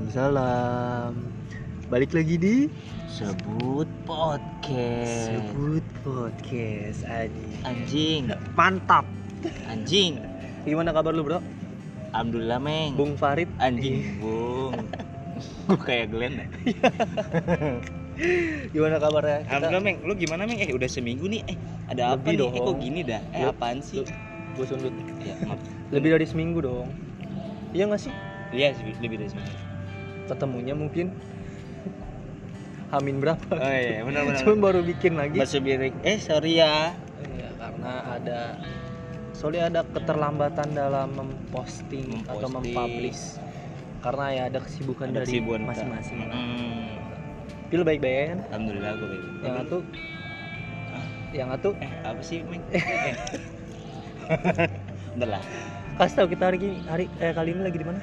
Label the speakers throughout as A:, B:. A: Waalaikumsalam. Balik lagi di
B: sebut Eh. podcast
A: Sebut Podcast Adi.
B: anjing
A: Mantap.
B: anjing
A: Gimana kabar lu, Bro?
B: alhamdulillah meng
A: Bung Farid.
B: anjing bung gue kayak Glenn ya
A: Gimana kabarnya?
B: alhamdulillah meng lu gimana meng eh udah seminggu nih eh ada apa
A: Lebih
B: nih eh kok
A: dong.
B: gini dah eh
A: Lu-
B: apaan sih
A: Gue sundut.
B: ya maaf
A: Lebih dari seminggu dong. Iya nggak sih?
B: iya sih, lebih dari seminggu
A: Ketemunya mungkin Hamin berapa?
B: oh iya benar benar
A: Cuman baru bikin lagi.
B: Mas Subirik, eh sorry ya
A: Iya, karena ada soalnya ada keterlambatan dalam memposting, atau
B: Memposting.
A: mempublish karena ya ada kesibukan
B: Ada
A: dari
B: kesibukan kita.
A: masing-masing.
B: Hmm,
A: Tapi lu baik-baik aja kan?
B: alhamdulillah gue baik
A: Yang satu yang satu
B: eh apa sih meng eh. Bentar lah
A: kasih tahu kita hari ini hari eh, kali ini lagi di mana?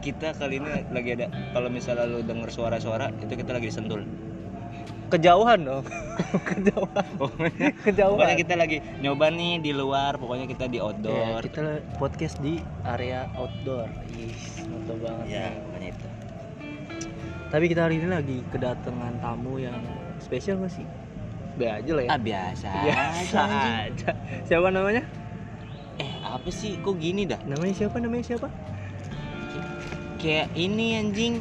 B: kita kali ini lagi ada kalau misalnya lu denger suara-suara itu kita lagi sentul
A: Kejauhan dong. Kejauhan.
B: pokoknya
A: Kejauhan.
B: pokoknya kita lagi nyoba nih di luar pokoknya kita di
A: Ya,
B: outdoor
A: kita podcast di area outdoor. Ih, mantap banget.
B: ya pokoknya itu
A: Tapi kita hari ini lagi kedatangan tamu yang spesial gak sih? Be aja lah ya.
B: ah biasa
A: Biasa
B: aja.
A: aja. Siapa namanya?
B: eh apa sih kok gini dah
A: Namanya siapa? Namanya siapa?
B: kayak ini anjing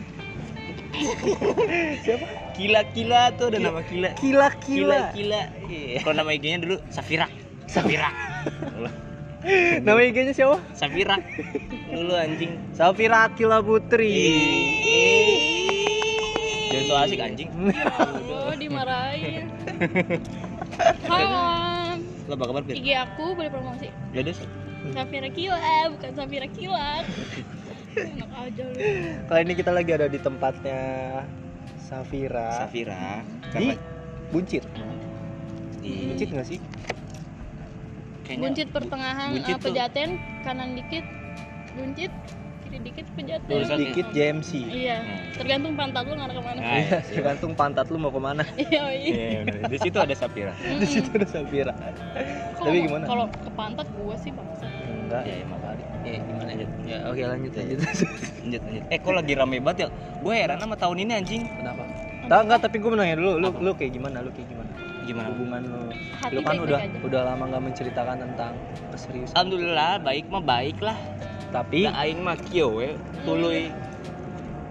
A: Siapa?
B: kila-kila tuh ada nama kila
A: Kila-kila.
B: kila-kila kalau nama IG-nya dulu Safira Safira
A: Nama IG-nya siapa?
B: Safira dulu anjing
A: Safira Kila Putri.
B: jangan so asik anjing
C: Ya Allah, dimarahin. Halo,
B: lo apa kabar Pir?
C: IG aku boleh promosi.
B: gak ada sih
C: Safira Kila, bukan Safira Kilat. Enak aja lu.
A: Kali ini kita lagi ada di tempatnya Safira.
B: Safira
A: Di
B: karena
A: Buncit.
B: di
A: Buncit nggak sih?
B: kayaknya-
C: Buncit pertengahan
B: Buncit
C: eh,
B: tuh.
C: pejaten, kanan dikit, buncit, kiri dikit pejaten.
A: Lurus
B: Lurus
A: dikit JMC.
C: Iya, tergantung pantat lu ngarah kemana.
B: ya? Hmm. Nah, iya, iya.
A: Tergantung pantat lu mau kemana.
C: Iya, iya.
B: Iya, bener. di situ ada Safira.
A: Di situ ada Safira. Tapi gimana?
C: Kalau ke pantat gua sih bangsa.
A: Enggak.
B: Iya, emang kali.
A: Ya gimana ya? Ya oke lanjut
B: Iya.
A: lanjut.
B: Lanjut, lanjut. Eh, kok lagi rame banget ya? Gue heran sama tahun ini anjing.
A: Kenapa? Enggak, enggak, tapi gue mau nanya dulu, lu,
B: Apa?
A: lu kayak gimana, lu kayak gimana?
B: Gimana?
A: Hubungan lu,
C: Hati
A: lu kan
C: baik-baik
A: udah
C: aja.
A: udah lama nggak menceritakan tentang keseriusan.
B: Alhamdulillah, baik mah baik lah.
A: Tapi
B: Nah, aing mah kieu we, tuluy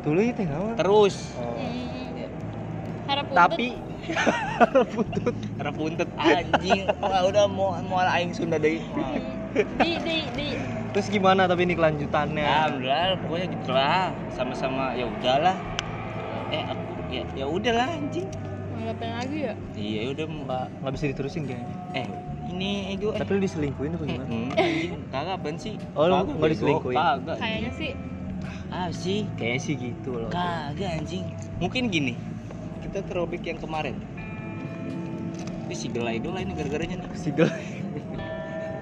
A: dulu itu kenapa?
B: terus
A: Oh.
C: Hmm.
A: Iya.
C: Harap
A: Tapi
B: repuntet anjing. Wah, udah mau mau aing Sunda deui.
C: untuk,
B: Wah.
C: hmm, di di di
A: terus gimana tapi ini kelanjutannya?
B: Alhamdulillah, pokoknya gitulah. Sama-sama ya udahlah. Eh, aku ya ya udahlah anjing.
C: mau ngapain lagi ya?
B: Iya, udah mau.
A: Nggak nggak bisa diterusin kayaknya.
B: Eh, ini eh, gue eh,
A: Tapi lu diselingkuhin apa gimana?
B: Hmm, anjing, kagak apaan sih?
A: Eh. Oh, lu
B: Kagak,
A: nggak
B: bego.
A: diselingkuhin?
B: Kagak.
C: Kayaknya sih
B: Ah sih,
A: Kayaknya sih gitu loh.
B: kagak anjing. Mungkin gini, kita terobek yang kemarin. Ini si gelai-gelai ini gara-garanya nih.
A: Si Del.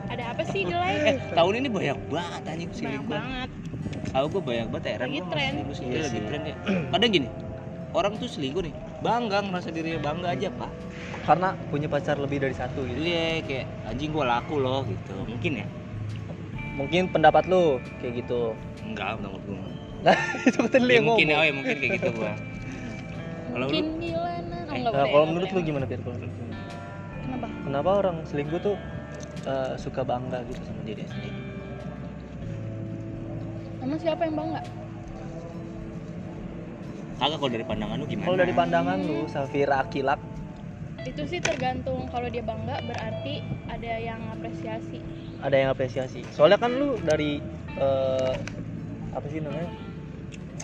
C: ada apa sih gelai?
B: Eh, tahun ini banyak banget anjing
C: Banyak
B: selingkuhan.
C: banget.
B: Tahu gue banyak banget heran
C: Lagi
B: gua sama
C: tren.
B: selingkuh sendiri,
A: Iya
B: lagi
A: sih.
B: tren ya. Kadang gini, orang tuh selingkuh nih, bangga merasa dirinya bangga aja, Pak.
A: Karena punya pacar lebih dari satu
B: Jadi
A: gitu.
B: ya kayak anjing gua laku loh gitu. Mungkin ya.
A: Mungkin pendapat lu kayak gitu.
B: Enggak, menurut gua.
A: Nah, itu kan lu
B: Ya,
A: yang
B: mungkin
A: ngomong.
B: ya, oh ya mungkin kayak gitu gua. Kalau
C: Mungkin
B: lu
C: Milana. Oh,
B: Eh,
C: enggak
A: Nah,
C: boleh,
A: kalau
C: enggak
A: menurut lu
C: boleh.
A: gimana, Pir? Kalau menurut lu?
C: Kenapa?
A: Kenapa orang selingkuh tuh eh, suka bangga gitu sama diri sendiri?
C: Emang siapa yang bangga?
B: kagak kalau dari pandangan lu gimana?
A: Kalau dari pandangan lu, Safira Akilak,
C: Itu sih tergantung kalau dia bangga berarti ada yang apresiasi.
A: ada yang apresiasi. Soalnya kan lu dari eh, apa sih namanya?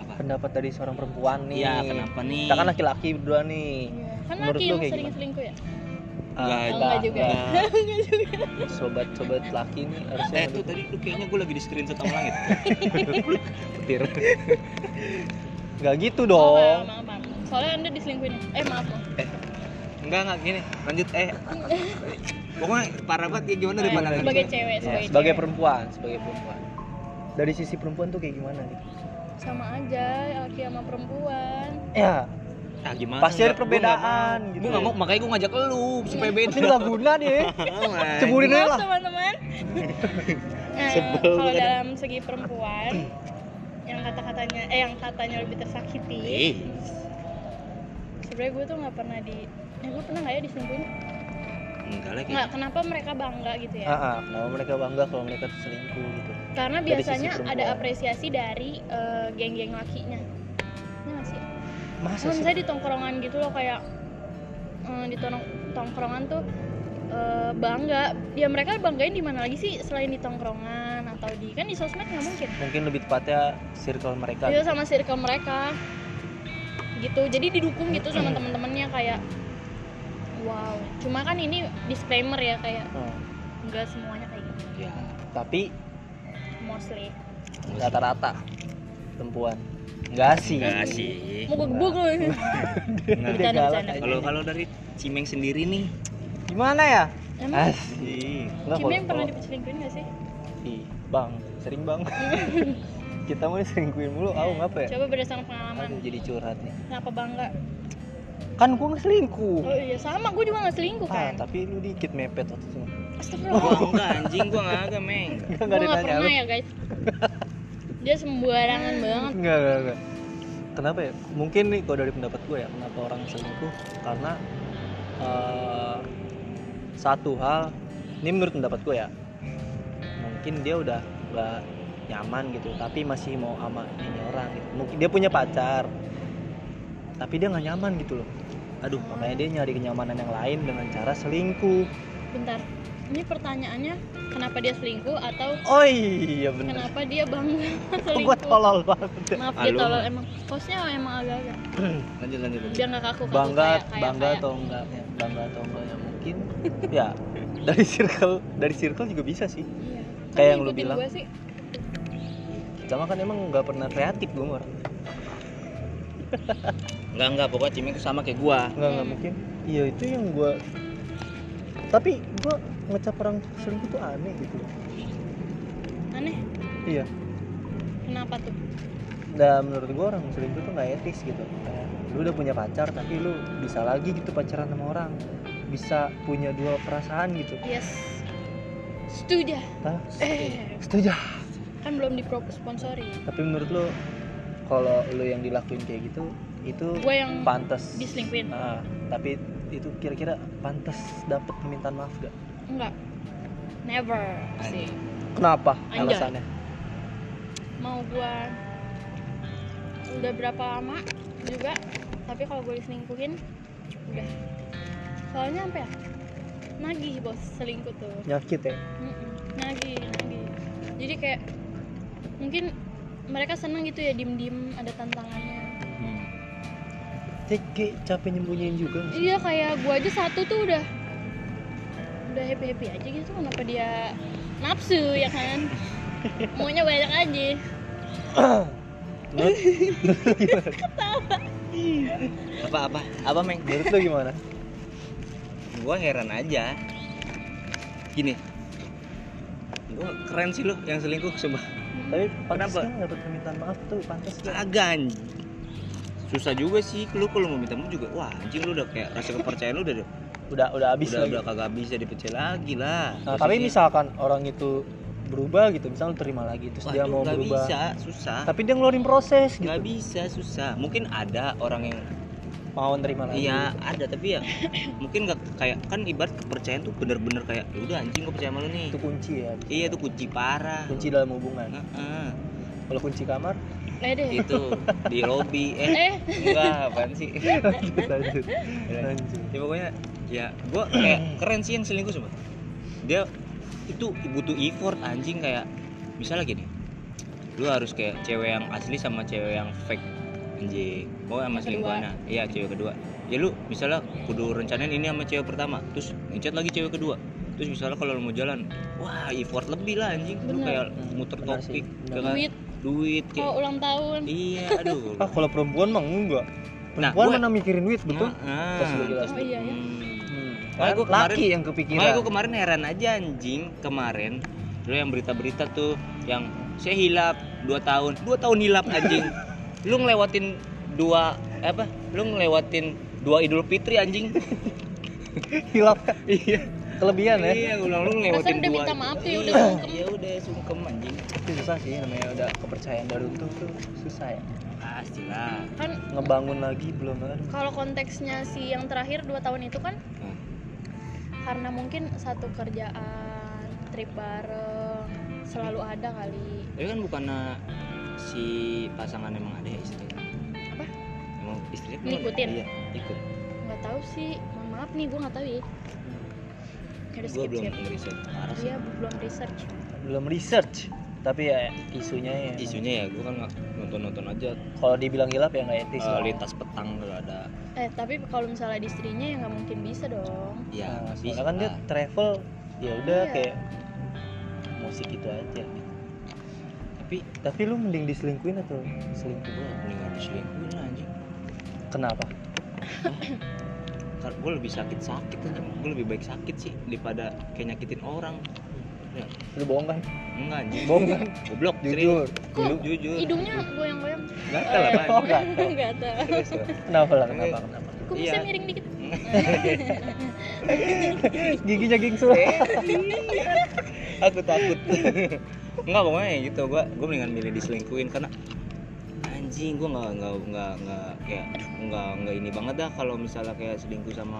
B: apa?
A: Pendapat dari seorang perempuan nih.
B: Iya, kenapa nih?
A: Kita kan laki-laki berdua nih.
C: Iya. Kan
A: Menurut
C: laki
A: lu
C: lu
A: kayak
C: sering
A: gimana?
C: selingkuh ya?
B: Enggak,
C: Oh, enggak juga.
B: enggak.
A: Sobat-sobat laki nih harusnya
B: Eh tuh tadi tuh kayaknya gue lagi di screenshot sama langit.
A: petir. Gak gitu
C: Oh,
A: dong.
C: maaf, maaf, maaf. Soalnya Anda diselingkuhin. Eh, maaf. loh.
B: Enggak enggak gini. Lanjut eh. Pokoknya parah banget ya gimana dari
C: Eh,
B: pandangan
C: sebagai
B: gua?
C: cewek,
A: Ya,
C: sebagai,
A: sebagai
C: cewek.
A: perempuan, sebagai perempuan. Dari sisi perempuan tuh kayak gimana gitu?
C: Sama aja laki sama perempuan.
A: Ya,
B: Ah gimana?
A: Pasti ada perbedaan, gitu.
B: Gue enggak mau makanya gue ngajak lu supaya beda.
A: ini
C: Iya.
A: nggak guna deh. Ceburin aja lah.
C: Maaf
A: kan.
C: teman-teman. Nah,
B: Sebel
C: kalau
B: bukan?
C: dalam segi perempuan yang kata-katanya eh yang katanya lebih tersakiti
B: Eh,
C: sebenarnya gue tuh nggak pernah di eh gue pernah nggak ya diselingkuhin
B: enggak lagi.
C: nggak kenapa mereka bangga gitu ya
A: Gitu. Ah, ah, kenapa mereka bangga kalau mereka tuh selingkuh gitu?
C: karena
A: Dari
C: biasanya
A: sisi perempuan.
C: ada apresiasi dari eh, geng-geng lakinya ya nggak sih
A: Masa
C: Kalau
A: sih?
C: misalnya di tongkrongan gitu loh kayak eh, di tonong- tongkrongan tuh eh, bangga ya mereka banggain di mana lagi sih selain di tongkrongan atau di kan di sosmed nggak mungkin
A: Mungkin lebih tepatnya circle mereka. gitu.
C: itu Iya, sama circle mereka gitu jadi didukung gitu
A: Hmm.
C: sama teman-temannya kayak wow cuma kan ini disclaimer ya kayak
A: Hmm.
C: nggak semuanya kayak gitu
B: Ya,
A: Tapi
C: mostly
A: rata-rata perempuan. Enggak sih.
B: enggak sih.
C: mau gue gebuk lu
A: Udah
B: Enggak.
C: Bercanda,
A: galak
C: bercanda.
A: aja.
B: Kalau kalau dari Cimeng sendiri nih.
A: gimana ya?
C: emang
A: Asik. Enggak
C: Cimeng
A: kalau-
C: Hmm. pernah
A: kalau-
C: dipercelingkuhin gak sih?
A: Ih, Bang, sering Bang. Kita mau diselingkuhin mulu, aku ngapa ya?
C: Coba berdasarkan
A: Aduh,
C: pengalaman
A: jadi curhat nih.
C: Kenapa bangga?
A: Kan gua ngeselingkuh.
C: Oh iya sama, gue juga gak selingkuh
A: Ah,
C: kan
A: tapi lu dikit mepet waktu itu.
B: Gua Oh.
C: Astagfirullah
B: enggak anjing, gua enggak agak, Meng.
A: Enggak
C: Gue
A: ada
C: gak
A: nanya lu.
C: pernah ya guys Dia sembarangan banget
A: Enggak, enggak, enggak. Kenapa ya? Mungkin nih kalau dari pendapat gue ya, kenapa orang selingkuh? Karena eh, satu hal, ini menurut pendapat gue ya, mungkin dia udah nggak nyaman gitu, tapi masih mau sama ini orang gitu. Mungkin dia punya pacar, tapi dia nggak nyaman gitu loh. Aduh, makanya dia nyari kenyamanan yang lain dengan cara selingkuh.
C: Bentar, ini pertanyaannya Kenapa dia selingkuh atau
A: Oh iya bener.
C: kenapa dia
A: Kok
C: bangga
A: ya? gue
C: selingkuh?
A: tolol banget.
C: Maaf dia
B: Halo.
C: tolol emang Posnya emang agak-agak
B: Lanjut lanjut. lanjut.
C: Biar gak kaku-kaku
A: bangga
C: kayak- kayak-
A: bangga
C: kayak- Iya.
A: atau enggak ya, bangga atau enggak ya mungkin ya dari circle dari circle juga bisa sih
C: Iya.
A: Kayak
C: Tapi
A: yang lu
C: ngikutin
A: bilang.
C: gua sih,
A: sama kan emang nggak pernah kreatif gue orang
B: Enggak enggak, pokoknya Cimeng tuh sama kayak gua.
A: nggak nggak
C: Hmm.
A: mungkin iya itu yang gue tapi gue ngecap orang selingkuh tuh aneh gitu loh
C: Aneh,
A: iya
C: kenapa tuh?
A: dan menurut gue orang selingkuh tuh nggak etis gitu kayak lu udah punya pacar tapi lu bisa lagi gitu pacaran sama orang bisa punya dua perasaan gitu
C: Yes Setuju
A: Hah?
C: Eh,
A: setuju
C: kan belum di sponsori
A: tapi menurut lu kalau lu yang dilakuin kayak gitu itu
C: Gue yang
A: pantas
C: diselingkuhin
A: Nah, tapi itu kira-kira pantas dapat permintaan maaf gak?
C: Enggak Never sih
B: Anjing.
A: Kenapa
C: Anjay.
A: alasannya?
C: mau gua udah berapa lama juga tapi kalau gue diselingkuhin udah soalnya apa ya nagih bos selingkuh tuh
A: Nyakit ya?
C: Mm-mm, nagih nagih jadi kayak mungkin mereka senang gitu ya diem diem ada tantangannya
B: Hmm.
A: Cek kayak capek nyembunyiin juga. nggak sih?
C: iya kayak gua aja satu tuh udah udah happy happy aja gitu kenapa dia nafsu ya kan maunya banyak aja
A: Menurut,
B: Apa apa? Apa, Meng?
A: menurut lu gimana?
B: Gua heran aja. Gini. Gua keren sih lu yang selingkuh, coba.
A: Tapi pantas
B: Kenapa?
A: nggak dapat permintaan maaf tuh pantas gak?
B: Kagak anjing. Susah juga sih lu kalau mau minta maaf juga. Wah, anjing lu udah kayak rasa kepercayaan lu udah
A: Udah udah habis
B: udah,
A: lagi.
B: udah kagak bisa dipecel lagi lah.
A: Nah, tapi
B: Maksudnya,
A: misalkan orang itu berubah gitu, misalnya lu terima lagi terus
B: waduh,
A: dia mau
B: nggak
A: berubah.
B: bisa, susah.
A: Tapi dia ngeluarin proses gitu.
B: Nggak bisa, susah. Mungkin ada orang yang
A: Mau nerima lagi.
B: Iya ada tapi ya mungkin nggak kayak kan ibarat kepercayaan tuh bener-bener kayak "Ya udah anjing gue percaya sama lu nih
A: Itu kunci ya.
B: iya tuh kunci parah
A: Kunci dalam hubungan.
B: Heeh.
A: Kalau kunci kamar,
C: eh deh
B: itu di lobby eh
C: eh
B: enggak apaan sih
A: lanjut lanjut. lanjut.
B: ya pokoknya ya gue kayak keren sih yang selingkuh sobat dia itu butuh effort anjing kayak misalnya gini lu harus kayak cewek yang asli sama cewek yang fake anjing mau sama
C: Yang kedua.
B: selingkuhannya iya cewek kedua ya lu misalnya kudu rencanain ini sama cewek pertama terus ngecat lagi cewek kedua terus misalnya kalau lu mau jalan wah effort lebih lah anjing lu
C: Bener.
B: kayak muter
A: Bener
B: topik
A: sih, bener.
B: dengan
C: duit
B: duit
C: kalau
B: kayak
C: ulang tahun
B: iya aduh
A: Ah, kalau perempuan mah enggak.
B: Nah,
A: Perempuan
B: gue-
A: mana mikirin duit, betul?
B: Nah,
A: Terus lu
B: terus-
A: jelasin.
C: Oh, iya, ya.
B: Hmm.
A: Hmm.
B: Makanya gua kemarin-
A: laki yang kepikiran.
B: Makanya gue kemarin heran aja anjing kemarin lu yang berita-berita tuh yang saya hilap 2 tahun 2 tahun hilap anjing lu ngelewatin dua apa lu ngelewatin dua idul fitri anjing
A: hilap.
B: iya
A: kelebihan ya
B: iya ulang lu
C: Rasanya
B: ngelewatin
C: udah
B: dua
C: minta maaf tuh, ya udah sungkem.
B: ya udah sungkem anjing
A: itu susah sih namanya udah kepercayaan dari itu tuh susah ya
B: pastilah
C: kan
A: ngebangun lagi belum aduh.
C: kalau konteksnya si yang terakhir dua tahun itu kan
B: Hmm.
C: karena mungkin satu kerjaan trip bareng selalu ada kali
B: tapi kan bukan si pasangan emang ada ya istri
C: Apa?
B: emang istri kan
C: Ngikutin?
B: iya ikut
C: nggak tahu sih mohon maaf nih gue nggak tahu ya harus
B: gue
C: skip
B: Hmm. belum
C: skip
B: riset parah sih
C: dia belum research
A: belum research tapi ya isunya ya
B: isunya ya gue kan nonton nonton aja
A: kalau dibilang hilaf ya nggak etis
B: eh,
A: lah.
B: lintas petang kalau ada
C: eh tapi kalau misalnya di istrinya ya nggak mungkin bisa dong
B: ya
A: Nah,
B: nggak bisa
A: soalnya kan dia travel ya udah
C: Iya.
A: kayak musik itu aja
B: tapi
A: tapi lu mending diselingkuin atau selingkuh
B: gue mendingan diselingkuhin lah, anjing
A: kenapa
B: karena gue lebih sakit sakit anjing gue lebih baik sakit sih daripada kayak nyakitin orang
A: lu bohong kan
B: enggak anjing
A: bohong kan
B: goblok serius
A: jujur
B: Goblok, jujur
C: hidungnya goyang-goyang
B: gatel lah
A: Oh,
B: Bang.
A: enggak.
C: nggak tahu
B: Serius, Bang.
A: kenapa lah kenapa kenapa
C: kok bisa
B: Iya.
C: miring dikit
A: giginya gingsul
B: aku takut enggak pokoknya ya gitu gua gua mendingan milih diselingkuin karena anjing gua nggak nggak nggak nggak kayak nggak nggak ini banget dah kalau misalnya kayak selingkuh sama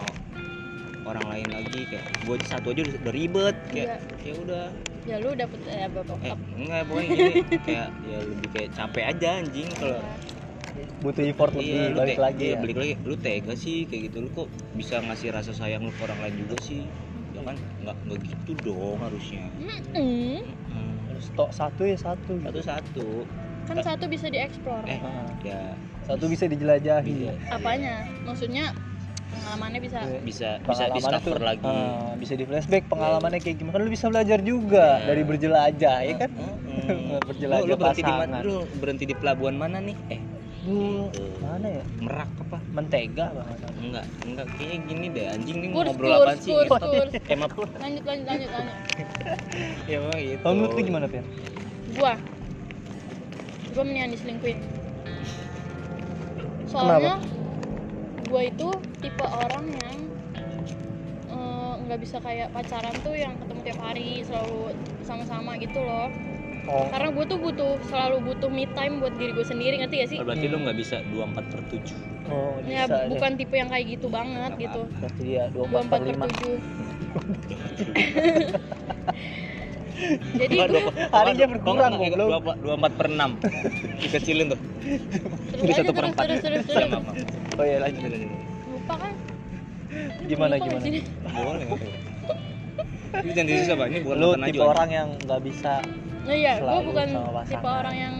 B: orang lain lagi kayak gua aja satu aja udah, udah ribet kayak
C: Iya.
B: ya udah
C: ya lu dapet eh, bapak
B: eh enggak pokoknya gini kayak ya lebih kayak capek aja anjing kalau
A: butuh effort
B: iya,
A: lebih
B: lu
A: balik
B: te-
A: lagi
B: iya,
A: ya
B: balik lagi lu tega sih kayak gitu lu kok bisa ngasih rasa sayang lu ke orang lain juga sih ya kan nggak nggak gitu dong harusnya
C: Hmm,
B: Mm-mm.
A: Harus stok satu ya satu gitu.
B: satu satu
C: kan satu bisa dieksplor
B: Eh.
A: Ah,
B: ya
A: satu bisa dijelajahi
B: bisa
C: apanya maksudnya pengalamannya bisa
B: bisa bisa
A: Pengalamannya
B: discover
A: tuh,
B: lagi
A: ah, bisa di flashback pengalamannya kayak gimana kan lu bisa belajar juga
B: Iya.
A: dari berjelajah ya kan
B: Mm-mm.
A: Berjelajah
B: Hmm. Lu- lu berhenti di mana
A: pasangan.
B: lu berhenti di pelabuhan mana nih eh
A: Hmm,
B: gitu.
A: mana ya
B: merak apa
A: mentega banget
B: enggak enggak kayaknya gini deh anjing nih
C: Kurs,
B: ngobrol
C: kurs,
B: apa sih
C: kurs,
B: ngetot.
C: kurs.
B: Eh, maaf.
C: lanjut lanjut lanjut lanjut
B: ya memang gitu
A: kalau menurut lu gimana Pian?
C: gua gua mendingan diselingkuhin soalnya gua itu tipe orang yang eh, nggak bisa kayak pacaran tuh yang ketemu tiap hari selalu sama-sama gitu loh
A: oh
C: karena gue tuh butuh selalu butuh me time buat diri gue sendiri ngerti gak sih
B: Oh, berarti lu nggak bisa dua empat per tujuh
A: oh
C: ya
A: bisa deh.
C: bukan tipe yang kayak gitu banget
B: Nggak
C: gitu
A: pasti dia dua
C: dua
A: empat per
C: empat
A: lima
C: per tujuh jadi
B: Dua-
C: gue
B: dua-
A: Harinya
B: dua-
A: berkurang,
B: dua-
A: goblok.
B: dua- dua empat per enam dikecilin tuh
C: terus
B: jadi
C: aja
B: satu per
C: terus
B: empat
C: terus terus
B: Ya,
C: terus
B: maaf, maaf.
A: oh ya lanjut
C: lupa kan Ini
A: Gimana,
C: lupa nggak
A: gimana?
C: sih?
B: boleh nggak tuh? ini jangan disusah Bang. ini bukan
A: lu
B: nonton
A: tipe
B: aja.
A: orang yang nggak bisa
C: Nah, iya gue
A: Selalu
C: bukan
A: sama pasangan.
C: tipe orang yang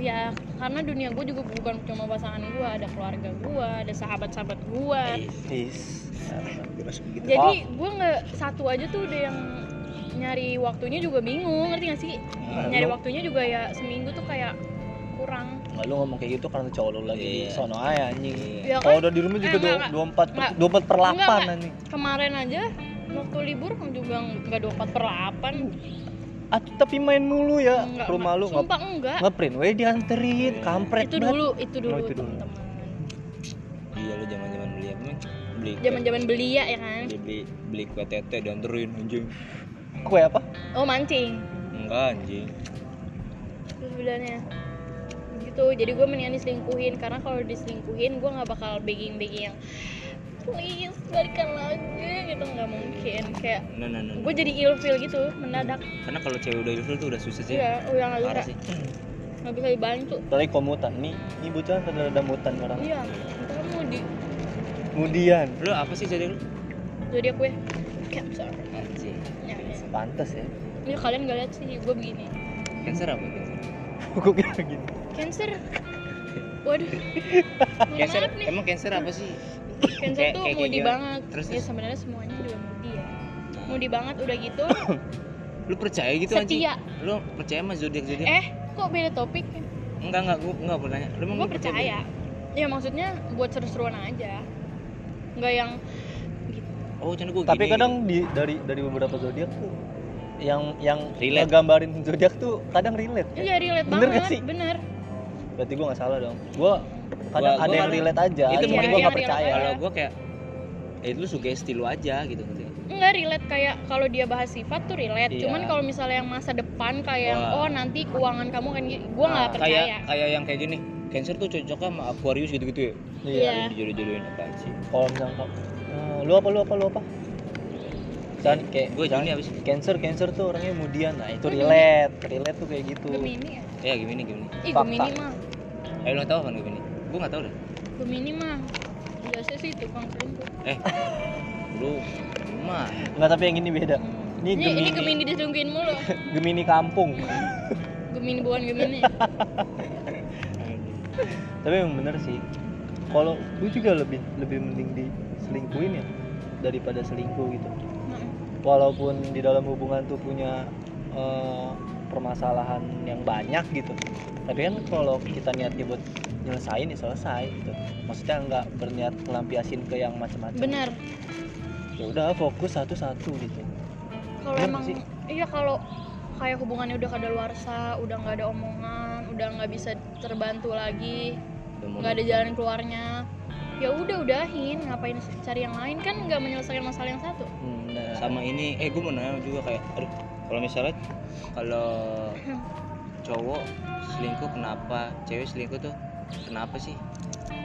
C: ya karena dunia gue juga bukan cuma pasangan gue ada keluarga gue ada sahabat sahabat gue
A: Iya. is
B: Terus begitu.
C: jadi
A: Oh.
C: gue nggak satu aja tuh udah yang nyari waktunya juga bingung ngerti gak sih
A: Nah,
C: nyari
A: lu-
C: waktunya juga ya seminggu tuh kayak kurang
A: nggak lu ngomong kayak gitu karena cowok lu lagi di
B: Iya.
A: sono aja anjing
B: Iya.
C: ya
A: kalau
C: kan
A: udah di rumah juga
C: Eh,
A: dua
C: nggak,
A: dua empat per
C: nggak.
A: dua empat per
C: Nggak,
A: delapan
C: nggak.
A: anjing
C: kemarin aja waktu libur kan juga nggak 24 per 8
A: ah tapi main mulu ya
C: Nggak,
A: ke rumah
C: nggak.
A: lu nggak
C: sumpah enggak
A: ngeprint weh dianterin
B: Iya.
A: kampret
C: itu
A: banget.
C: dulu itu dulu
A: Oh, itu dulu.
C: teman-teman
B: iya lu zaman zaman beli apa beli
C: zaman-zaman belia ya kan
B: beli beli, beli kue tete dianterin anjing
A: kue apa
C: oh mancing
B: enggak anjing
C: terus bilangnya gitu jadi gue mendingan diselingkuhin karena kalau diselingkuhin gue nggak bakal begging begging yang please balikan lagi gitu nggak mungkin kayak
B: nah nah nah
C: gue jadi ilfil gitu mendadak
B: karena kalau cewek udah ilfil tuh udah susah sih
C: iya udah nggak
B: parah
C: bisa
B: sih
C: nggak bisa dibantu
A: Apalagi komutan nih, ini bocah ada ada mutan orang.
C: iya itu kan mau di
A: Kemudian
B: lu apa sih jadi lu
C: jadi aku ya cancer
B: anjing
C: ya, ya.
A: pantas ya.
C: Ini kalian gak lihat sih gue begini
B: cancer apa cancer
A: Kok kayak gini?
C: cancer waduh mohon
B: cancer
C: maaf nih
B: emang cancer apa sih
C: cancer
B: kayak-
C: tuh
B: kayak
C: moody
B: gimana?
C: banget
B: Terus,
C: ya
B: terus. Nah.
C: sebenarnya semuanya juga moody ya moody banget udah gitu
B: lu percaya gitu anjing
C: setia
B: lu percaya sama zodiak zodiak
C: Eh, kok beda topik?
B: enggak enggak gua enggak bertanya lu emang
C: Gue percaya. Ya maksudnya buat seru-seruan aja. Nggak yang
B: oh cuman gua
A: Tapi
B: gini.
A: kadang di dari dari beberapa zodiak tuh yang yang
B: Relate.
A: gambarin zodiak tuh kadang relate.
B: Eh,
C: iya relate
A: Bener
C: banget,
A: nggak sih?
C: bener.
A: Berarti gua nggak salah dong. Gua kadang
B: Gua-
A: ada
B: gua
A: yang
B: kadang-
A: relate aja.
B: Itu mungkin
A: cuman gua
B: yang
A: nggak
C: relate
A: percaya.
C: aja.
B: kalau gua kayak eh itu sugesti lu aja gitu ngerti nggak?
C: Enggak relate kayak kalau dia bahas sifat tuh relate.
B: Iya.
C: Cuman kalau misalnya yang masa depan kayak yang,
B: Wah.
C: oh nanti keuangan kamu kan gini, gua nggak
B: Nah,
C: percaya.
B: kayak kayak yang kayak gini Cancer tuh cocoknya sama Aquarius gitu-gitu ya.
C: Iya.
B: Ini Dijodoh-jodohin apaan sih?
A: Kalau misalnya kok, eh, lu apa lu apa lu apa? Jangan kayak
B: Gue
A: jangan-
B: Juni abis. Eh,
A: Cancer Cancer tuh orangnya kemudian. Nah, itu
C: Gemini.
A: relate. Relate tuh kayak gitu.
C: Gemini ya?
B: Ya gimana gimana.
C: Ih,
A: Fakta.
C: Gemini mah.
B: Eh lu tahu kan gimana? Gue nggak tahu deh.
C: Gemini mah. Biasa sih tukang selingkuh.
B: Eh, lu mah
A: Enggak, tapi yang ini beda. Ini
C: Hmm. Iya, Ini,
A: Gemini.
C: ini Gemini diselingkuhin mulu.
A: Gemini kampung.
C: Gemini bukan Gemini.
A: tapi yang bener sih. Kalau gue juga lebih lebih mending diselingkuhin ya daripada selingkuh gitu.
C: Nah,
A: Walaupun di dalam hubungan tuh punya eh, permasalahan yang banyak gitu. Tapi kan kalau kita niatnya buat nyelesain ya selesai gitu. Maksudnya nggak berniat ngelampiasin ke yang macam-macam.
C: Benar.
A: Ya udah fokus satu-satu gitu.
C: Kalau
A: Benar
C: emang
A: sih.
C: iya kalau kayak hubungannya udah kadaluarsa, udah nggak ada omongan, udah nggak bisa terbantu lagi, nggak ada jalan keluarnya. Ya udah udahin, ngapain cari yang lain kan nggak menyelesaikan masalah yang satu.
A: Hmm, nah.
B: sama ini eh gue mau nanya juga kayak aduh kalau misalnya kalau cowok selingkuh kenapa cewek selingkuh tuh kenapa sih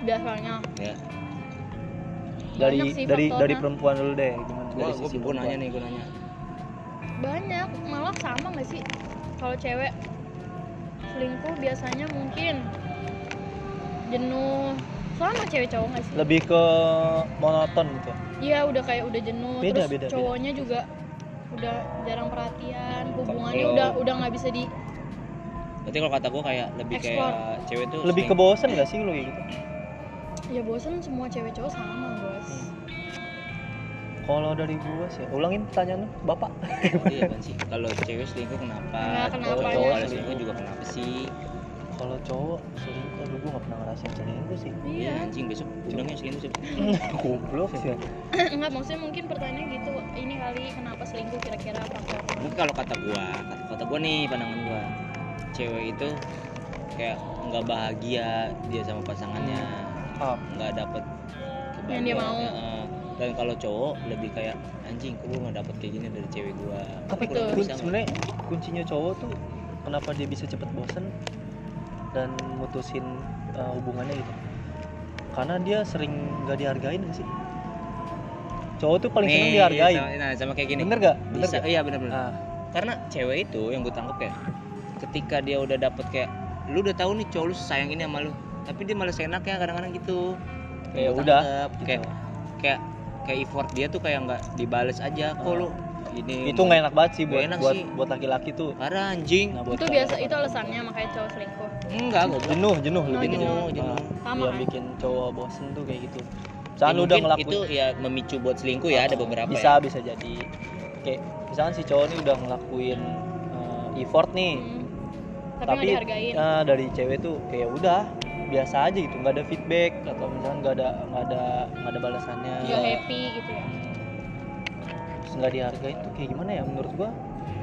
C: Dasarnya
B: ya
A: dari
C: Banyak sih
A: dari
C: faktornya.
A: dari perempuan dulu deh gimana
B: gue
A: dari
B: gue
A: sisi perempuan.
B: nanya nih gue nanya
C: banyak, malah sama nggak sih kalau cewek selingkuh biasanya mungkin jenuh sama cewek cowok nggak sih?
A: lebih ke monoton gitu
B: Hmm,
C: Iya udah kayak udah jenuh
A: Beda,
C: terus
A: beda, beda.
C: cowoknya juga udah jarang perhatian hubungannya
B: Kalau-
C: udah udah nggak bisa di
B: berarti kalau kata gue kayak lebih kayak cewek tuh
A: lebih ke
B: seling-
A: bosen gak sih lu kayak gitu
C: ya bosan semua cewek cowok sama bos
A: Hmm. kalau dari gua sih ulangin pertanyaan lu bapak
B: iya kan sih kalau cewek selingkuh kenapa
C: Nah, kenapa
B: cowok
C: ya?
B: cowok ada selingkuh juga kenapa sih
A: kalau cowok selingkuh aduh gua gak pernah ngerasain selingkuh sih
B: iya
C: iya
B: anjing besok undangnya selingkuh sih
A: goblok ya
C: nggak maksudnya mungkin pertanyaannya gitu ini kali kenapa selingkuh kira-kira faktornya
B: mungkin kalau kata gua kata, kata gua nih pandangan gua cewek itu kayak nggak bahagia dia sama pasangannya
A: Ah.
B: nggak dapet
C: Yang dia mau.
B: kebahagiaan, eh. dan kalau cowok lebih kayak anjing kok gua nggak dapet kayak gini dari cewek gua
A: tapi
B: Kok gua nggak
C: Betul.
A: kun-
B: bisa, nggak?"
A: sebenarnya kuncinya cowok tuh kenapa dia bisa cepet bosen dan mutusin uh, hubungannya gitu karena dia sering gak dihargain gak sih cowok tuh paling seneng
B: Nih,
A: dihargain
B: sama, nah, sama kayak gini
A: bener gak bener
B: bisa
A: gak
B: iya bener bener
A: Ah,
B: karena cewek itu yang gue tangkap kayak ketika dia udah dapet kayak lu udah tahu nih cowok lu sayang ini sama lu tapi dia malah seenaknya kadang-kadang gitu
A: ya
B: Gua
A: udah
B: tangkep, kayak
A: gitu.
B: kayak kayak effort dia tuh kayak nggak dibales aja kok
A: Ah.
B: lu ini
A: itu nggak enak banget sih
B: Nggak
A: buat
B: enak
A: buat
B: sih.
A: buat laki-laki tuh
B: karena anjing
A: Nah, buat
C: itu
A: cowok.
C: biasa itu alasannya makanya cowok selingkuh
B: enggak gue bilang
A: jenuh jenuh
C: Oh,
A: lebih
B: jenuh
A: jenuh,
B: jenuh
C: Sama
A: yang
C: kan?
A: bikin cowok bosen tuh kayak gitu
B: Ya,
A: misalkan lu udah
B: mungkin
A: ngelakuin Nah,
B: itu ya memicu buat selingkuh ya ada beberapa
A: bisa
B: ya.
A: bisa jadi kayak misalkan si cowok nih udah ngelakuin eh, effort nih
C: Hmm. tapi nggak
A: tapi
C: dihargain
A: eh, dari cewek tuh kayak udah biasa aja gitu nggak ada feedback atau misalkan nggak ada nggak ada nggak ada balasannya
C: nggak happy gitu ya
A: terus nggak dihargain tuh kayak gimana ya menurut gua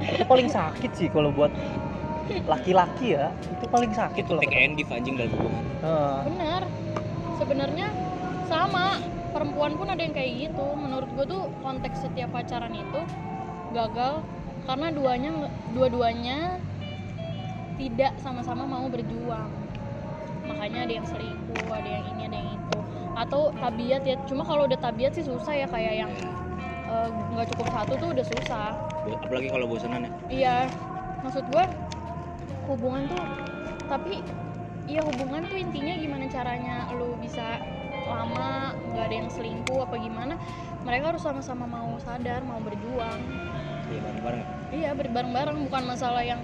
A: itu paling sakit sih kalau buat laki-laki ya itu paling sakit ya? kalau
B: take and give anjing dalam hubungan
A: Heeh.
C: bener sebenarnya sama perempuan pun ada yang kayak gitu menurut gue tuh konteks setiap pacaran itu gagal karena duanya nge- dua-duanya tidak sama-sama mau berjuang makanya ada yang selingkuh ada yang ini ada yang itu atau tabiat ya cuma kalau udah tabiat sih susah ya kayak yang eh, nggak cukup satu tuh udah susah
B: Bo- apalagi kalau bosanan ya
C: Iya, maksud gue hubungan tuh, tapi iya hubungan tuh intinya gimana caranya lu bisa lama nggak ada yang selingkuh apa gimana? Mereka harus sama-sama mau sadar, mau berjuang.
B: Iya, bareng-bareng ya.
C: Iya berbareng-bareng bukan masalah yang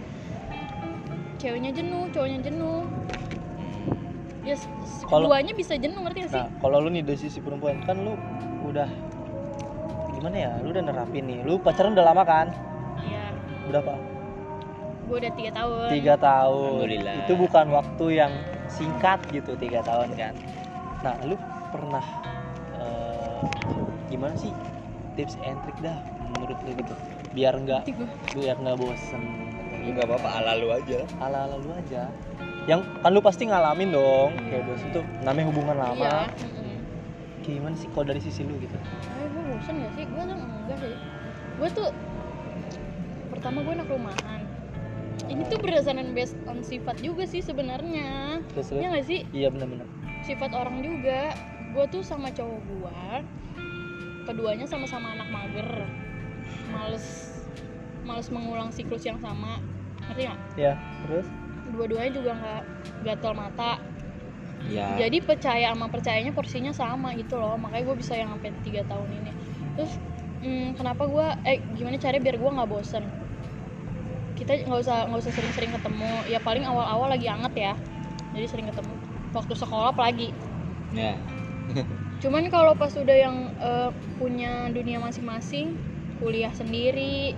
C: ceweknya jenuh, cowoknya jenuh. Ya, s- s-
A: Kalau-
C: keduanya bisa jenuh ngerti gak sih?
A: Nah, kalau lu nih dari sisi perempuan kan lu udah gimana ya? Lu udah nerapin nih. Lu pacaran udah lama kan?
C: Iya,
A: Berapa?
C: gue udah tiga tahun.
A: Tiga tahun.
B: Alhamdulillah.
A: Itu bukan waktu yang singkat gitu tiga tahun kan. Nah, lu pernah eh, gimana sih tips and trick dah menurut lu gitu? Biar nggak
C: Tiga.
A: biar nggak bosen
B: Lu nggak apa-apa ala lu aja
A: ala ala lu aja. Yang kan lu pasti ngalamin dong kayak bosen tuh namanya hubungan lama.
C: Hmm. Iya. mm-mm.
A: Kayak gimana sih kalau dari sisi lu gitu
C: tapi gue Eh, bosen gak sih gue tuh enggak sih gue tuh pertama gue anak rumahan ini tuh berdasarkan based on sifat juga sih sebenarnya
A: terus
C: ya
A: terus
C: gak sih
A: iya benar-benar
C: sifat orang juga gue tuh sama cowok gue keduanya sama-sama anak mager males males mengulang siklus yang sama ngerti nggak
A: ya terus
C: dua-duanya juga nggak gatal mata
B: ya
C: jadi percaya sama percayanya porsinya sama gitu loh makanya gue bisa yang sampai tiga tahun ini terus hmm, kenapa gue eh gimana caranya biar gue nggak bosen kita nggak usah nggak usah sering-sering ketemu ya paling awal-awal lagi anget ya jadi sering ketemu waktu sekolah apalagi
B: ya
C: cuman kalau pas udah yang eh, punya dunia masing-masing kuliah sendiri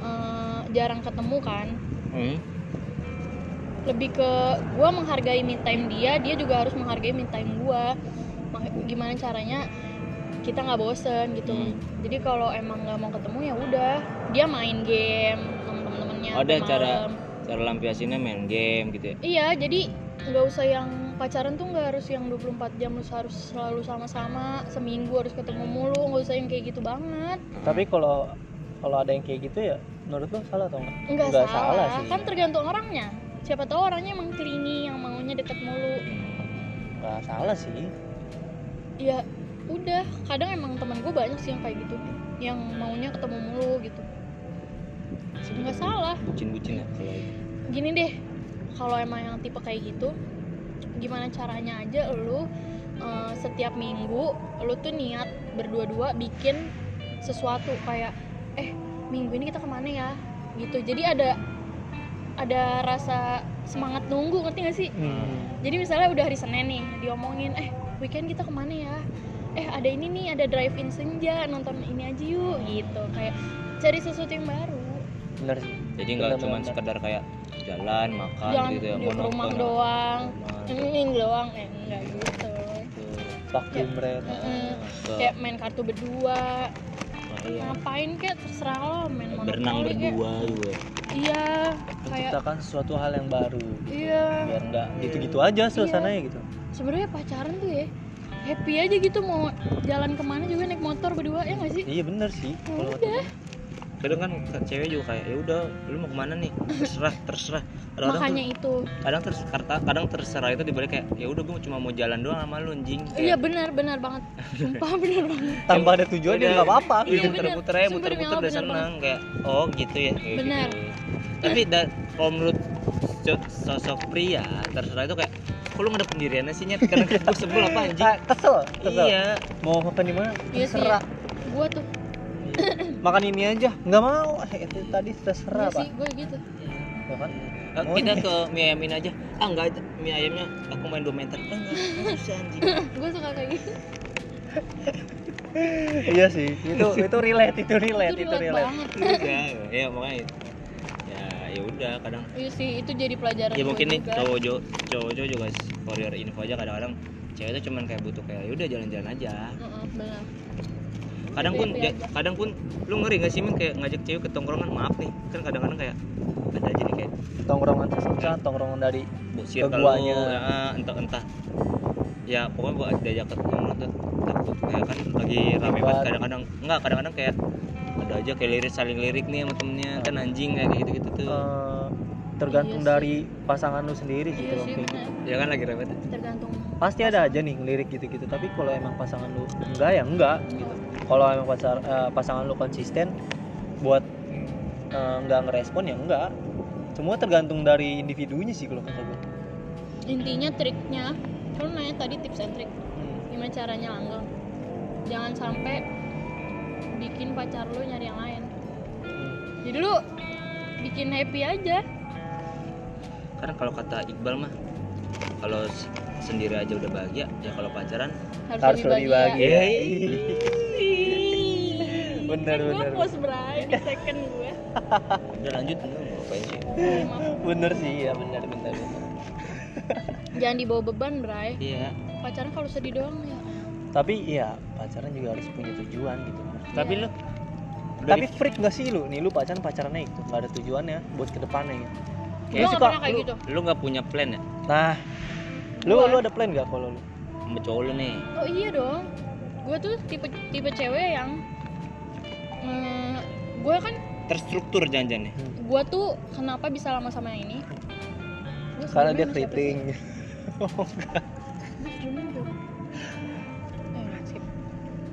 C: eh, jarang ketemu kan
B: Hmm.
C: lebih ke gue menghargai me time dia dia juga harus menghargai me time gue gimana caranya kita nggak bosen gitu
B: Hmm.
C: jadi kalau emang nggak mau ketemu ya udah dia main game sama temen-temennya
B: Ada
C: sampai
B: cara-
C: malam.
B: cara lampiasinnya main game gitu ya
C: iya jadi nggak usah yang pacaran tuh nggak harus yang 24 jam harus harus selalu sama-sama seminggu harus ketemu mulu nggak usah yang kayak gitu banget
A: tapi kalau kalau ada yang kayak gitu ya menurut lu salah atau enggak
C: nggak
A: Nggak
C: salah,
A: salah sih.
C: kan tergantung orangnya siapa tahu orangnya emang kelingi yang maunya deket mulu
A: nggak salah sih
C: ya udah kadang emang temen gue banyak sih yang kayak gitu yang maunya ketemu mulu gitu nggak salah
B: bucin-bucin ya kalau itu.
C: gini deh kalau emang yang tipe kayak gitu gimana caranya aja lu eh, setiap minggu lu tuh niat berdua-dua bikin sesuatu kayak eh minggu ini kita kemana ya gitu jadi ada ada rasa semangat nunggu ngerti gak sih
A: hmm.
C: jadi misalnya udah hari Senin nih diomongin eh weekend kita kemana ya eh ada ini nih ada drive in senja nonton ini aja yuk gitu kayak cari sesuatu yang baru
A: bener sih
B: jadi nggak
A: Benar,
B: cuma
A: benar.
B: sekedar kayak jalan makan
C: jangan
B: gitu ya
C: di rumah
B: monoton.
C: doang
B: Monoton.
C: ini doang eh enggak gitu
A: waktu mereka
C: Mm-mm.
B: Ke-
C: Iya. kayak main kartu berdua
B: Nah, gitu. iya.
C: ngapain kek terserah lo main
B: berenang
C: monopoli kek.
B: berdua gitu ya. juga
C: iya kayak
A: menciptakan sesuatu hal yang baru
C: iya
A: biar nggak gitu-gitu aja suasananya gitu
C: sebenarnya pacaran tuh ya happy aja gitu mau jalan kemana juga naik motor berdua ya nggak sih
A: iya bener sih kalau
C: udah
B: kadang kan ke- cewek juga kayak ya udah lu mau kemana nih terserah terserah kadang, -kadang
C: makanya itu
B: kadang terserah kadang terserah itu dibalik kayak ya udah gue cuma mau jalan doang sama lu anjing
C: Iya
B: Kayak,
C: benar benar banget. Sumpah benar banget.
A: tambah ada tujuan dia
B: Udah.
A: nggak apa-apa
C: Iya,
B: Iya,
C: bener.
B: muter-muter aja,
C: Sumpah demi
B: muter-muter
C: Allah,
B: udah
C: bener
B: seneng kayak oh gitu ya. kayak
C: Bener.
B: gitu. Tapi da, kalau menurut so- sosok pria terserah itu kayak kok lu nggak ada pendiriannya sih nyet karena gue sebel apa anjing.
A: Ah, kesel kesel
B: Iya.
A: mau makan di mana
C: Iya sih.
A: terserah
C: Gua tuh iya
A: makan ini aja nggak mau Eh, itu tadi terserah
C: iya
A: pak
C: sih gue gitu.
A: ya kan
B: Eh, kita ke mie ayamin aja. Ah enggak mie ayamnya aku main 2 meter. Ah, enggak bisa anjing.
C: Gue suka kayak gitu.
A: iya sih itu itu relate itu relate
C: Itu
A: itu
C: relate
A: relate
C: banget.
B: Iya, ya makanya ya ya udah kadang
C: Iya sih, itu jadi pelajaran.
B: ya
C: gua
B: mungkin nih
C: juga.
B: cowok cowok cowok juga for your info aja kadang-kadang cewek itu cuman kayak butuh kayak yaudah jalan-jalan aja
C: Heeh, benar.
B: kadang pun
C: Iya, iya.
B: ja- kadang pun lu ngeri gak sih Min kayak ngajak cewek ke tongkrongan maaf nih kan kadang-kadang kayak ada aja nih kayak
A: tongkrongan sosial tongkrongan dari
B: bosir kalau
A: Keguanya.
B: entah entah ya pokoknya buat diajak ke tongkrongan tuh takut kayak kan lagi rame
A: Ribet.
B: banget kadang-kadang enggak kadang-kadang kayak ada aja kayak lirik saling lirik nih sama temennya kan anjing kayak gitu gitu tuh
A: eh, tergantung
C: Iya sih.
A: dari pasangan lu sendiri sih
C: Iya
A: kalau
C: sih
A: kayak
C: benar.
A: gitu
B: ya kan lagi rame tuh.
C: Tergantung.
A: pasti ada aja nih ngelirik gitu-gitu tapi kalau emang pasangan lu enggak ya enggak
C: Gitu.
A: kalau emang pasar, eh, pasangan lu konsisten buat eh, nggak ngerespon ya enggak semua tergantung dari individunya sih kalau kata gue
C: Intinya triknya, kalau nanya tadi tips and trick,
A: Hmm.
C: gimana caranya langgeng? Jangan sampai bikin pacar lu nyari yang lain.
A: Hmm.
C: Jadi lu bikin happy aja.
B: kan kalau kata Iqbal mah kalau s- sendiri aja udah bahagia ya kalau pacaran
C: Harus,
A: harus lebih bahagia
B: Iya.
A: Benar,
C: Gue
A: benar,
C: Kan puas berai di second gue.
B: udah lanjut enggak ngapain sih
C: Sorry, maaf.
A: bener sih ya bener bener, bener.
C: Jangan dibawa beban, Bray.
B: iya
C: Pacaran kalau sedih doang ya.
A: tapi ya pacaran juga harus punya tujuan gitu
B: tapi
C: Iya.
B: lu
A: tapi freak gak sih lu nih lu pacaran pacarannya itu nggak ada tujuannya buat kedepannya gitu
C: Gue
A: Lu
C: gak
A: suka-
C: pernah kayak
A: lu-
C: gitu.
B: lu nggak punya plan ya
A: nah lu
C: Gua-
A: lu ada plan gak kalau lu
B: sama cowok lu nih
C: Oh iya dong. gue tuh tipe tipe cewek yang mm, gue kan
B: terstruktur janjiannya
C: gue tuh kenapa bisa lama sama yang ini Gua
A: karena dia
C: sebelumnya sama siapa sih?
A: keriting
C: Mas Jumin tuh. Eh, skip.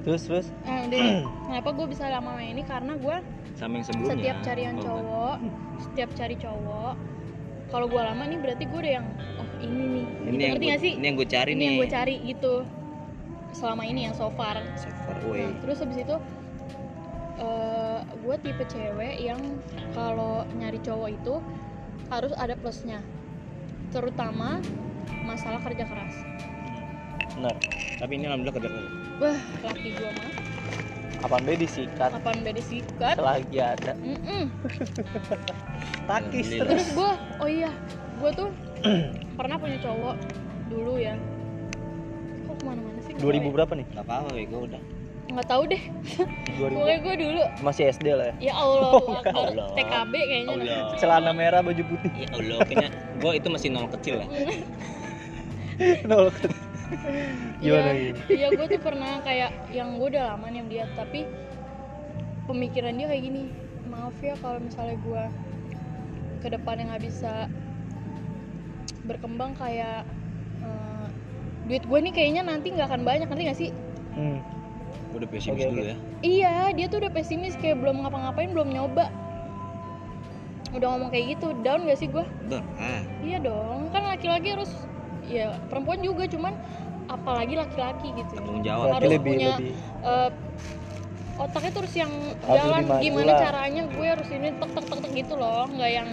A: terus terus
C: Eh, udah deh. kenapa gue bisa lama sama yang ini karena gue
B: sama yang sebelumnya
C: setiap cari yang
B: Oh,
C: cowok setiap cari cowok kalau gue lama nih berarti gue udah yang oh ini nih
B: bukan.
C: Gitu,
B: ini yang
C: ngerti
B: gua,
C: gak sih
B: ini yang gue cari
C: ini
B: nih
C: yang gue cari gitu selama ini yang so far
B: So far away.
C: Nah, terus habis itu eh gue tipe cewek yang kalau nyari cowok itu harus ada plusnya terutama masalah kerja keras
A: benar
B: tapi ini alhamdulillah kerja keras
C: wah laki gue mah
A: kapan be disikat
C: kapan beda sikat
A: selagi ada
C: Mm-mm.
A: takis
B: Alhamdulillah.
A: terus
C: terus gue oh iya gue tuh pernah punya cowok dulu ya kok kemana-mana sih ya.
A: 2000 berapa nih
B: nggak apa-apa gue udah
C: Iya, nggak tahu deh
A: 2000
C: pokoknya gue dulu
A: masih SD lah ya
C: ya Allah, Akbar.
B: Allah.
C: TKB kayaknya
B: Oh, iya.
A: celana merah baju putih
B: ya Allah kayaknya gue itu masih nol kecil ya. lah
A: nol gimana
C: Iya,
A: gitu
C: Iya gue tuh pernah kayak yang gue udah lama nih sama dia tapi pemikiran dia kayak gini maaf ya kalau misalnya gue ke depannya nggak bisa berkembang kayak eh, duit gue nih kayaknya nanti nggak akan banyak nanti gak sih
A: hmm.
B: gue udah pesimis
A: Oke,
B: dulu
A: oke.
B: ya
C: iya dia tuh udah pesimis kayak belum ngapa-ngapain belum nyoba udah ngomong kayak gitu down gak sih gue
B: don ah
C: iya dong kan laki-laki harus ya perempuan juga cuman apalagi laki-laki gitu
B: tanggung jawab
A: berarti
C: Harus
A: lebih
C: punya
A: lebih
C: Eh, otaknya terus yang
A: Harus
C: jalan
A: lebih maju
C: gimana
A: lah.
C: caranya gue harus ini tek tek tek tek gitu loh nggak yang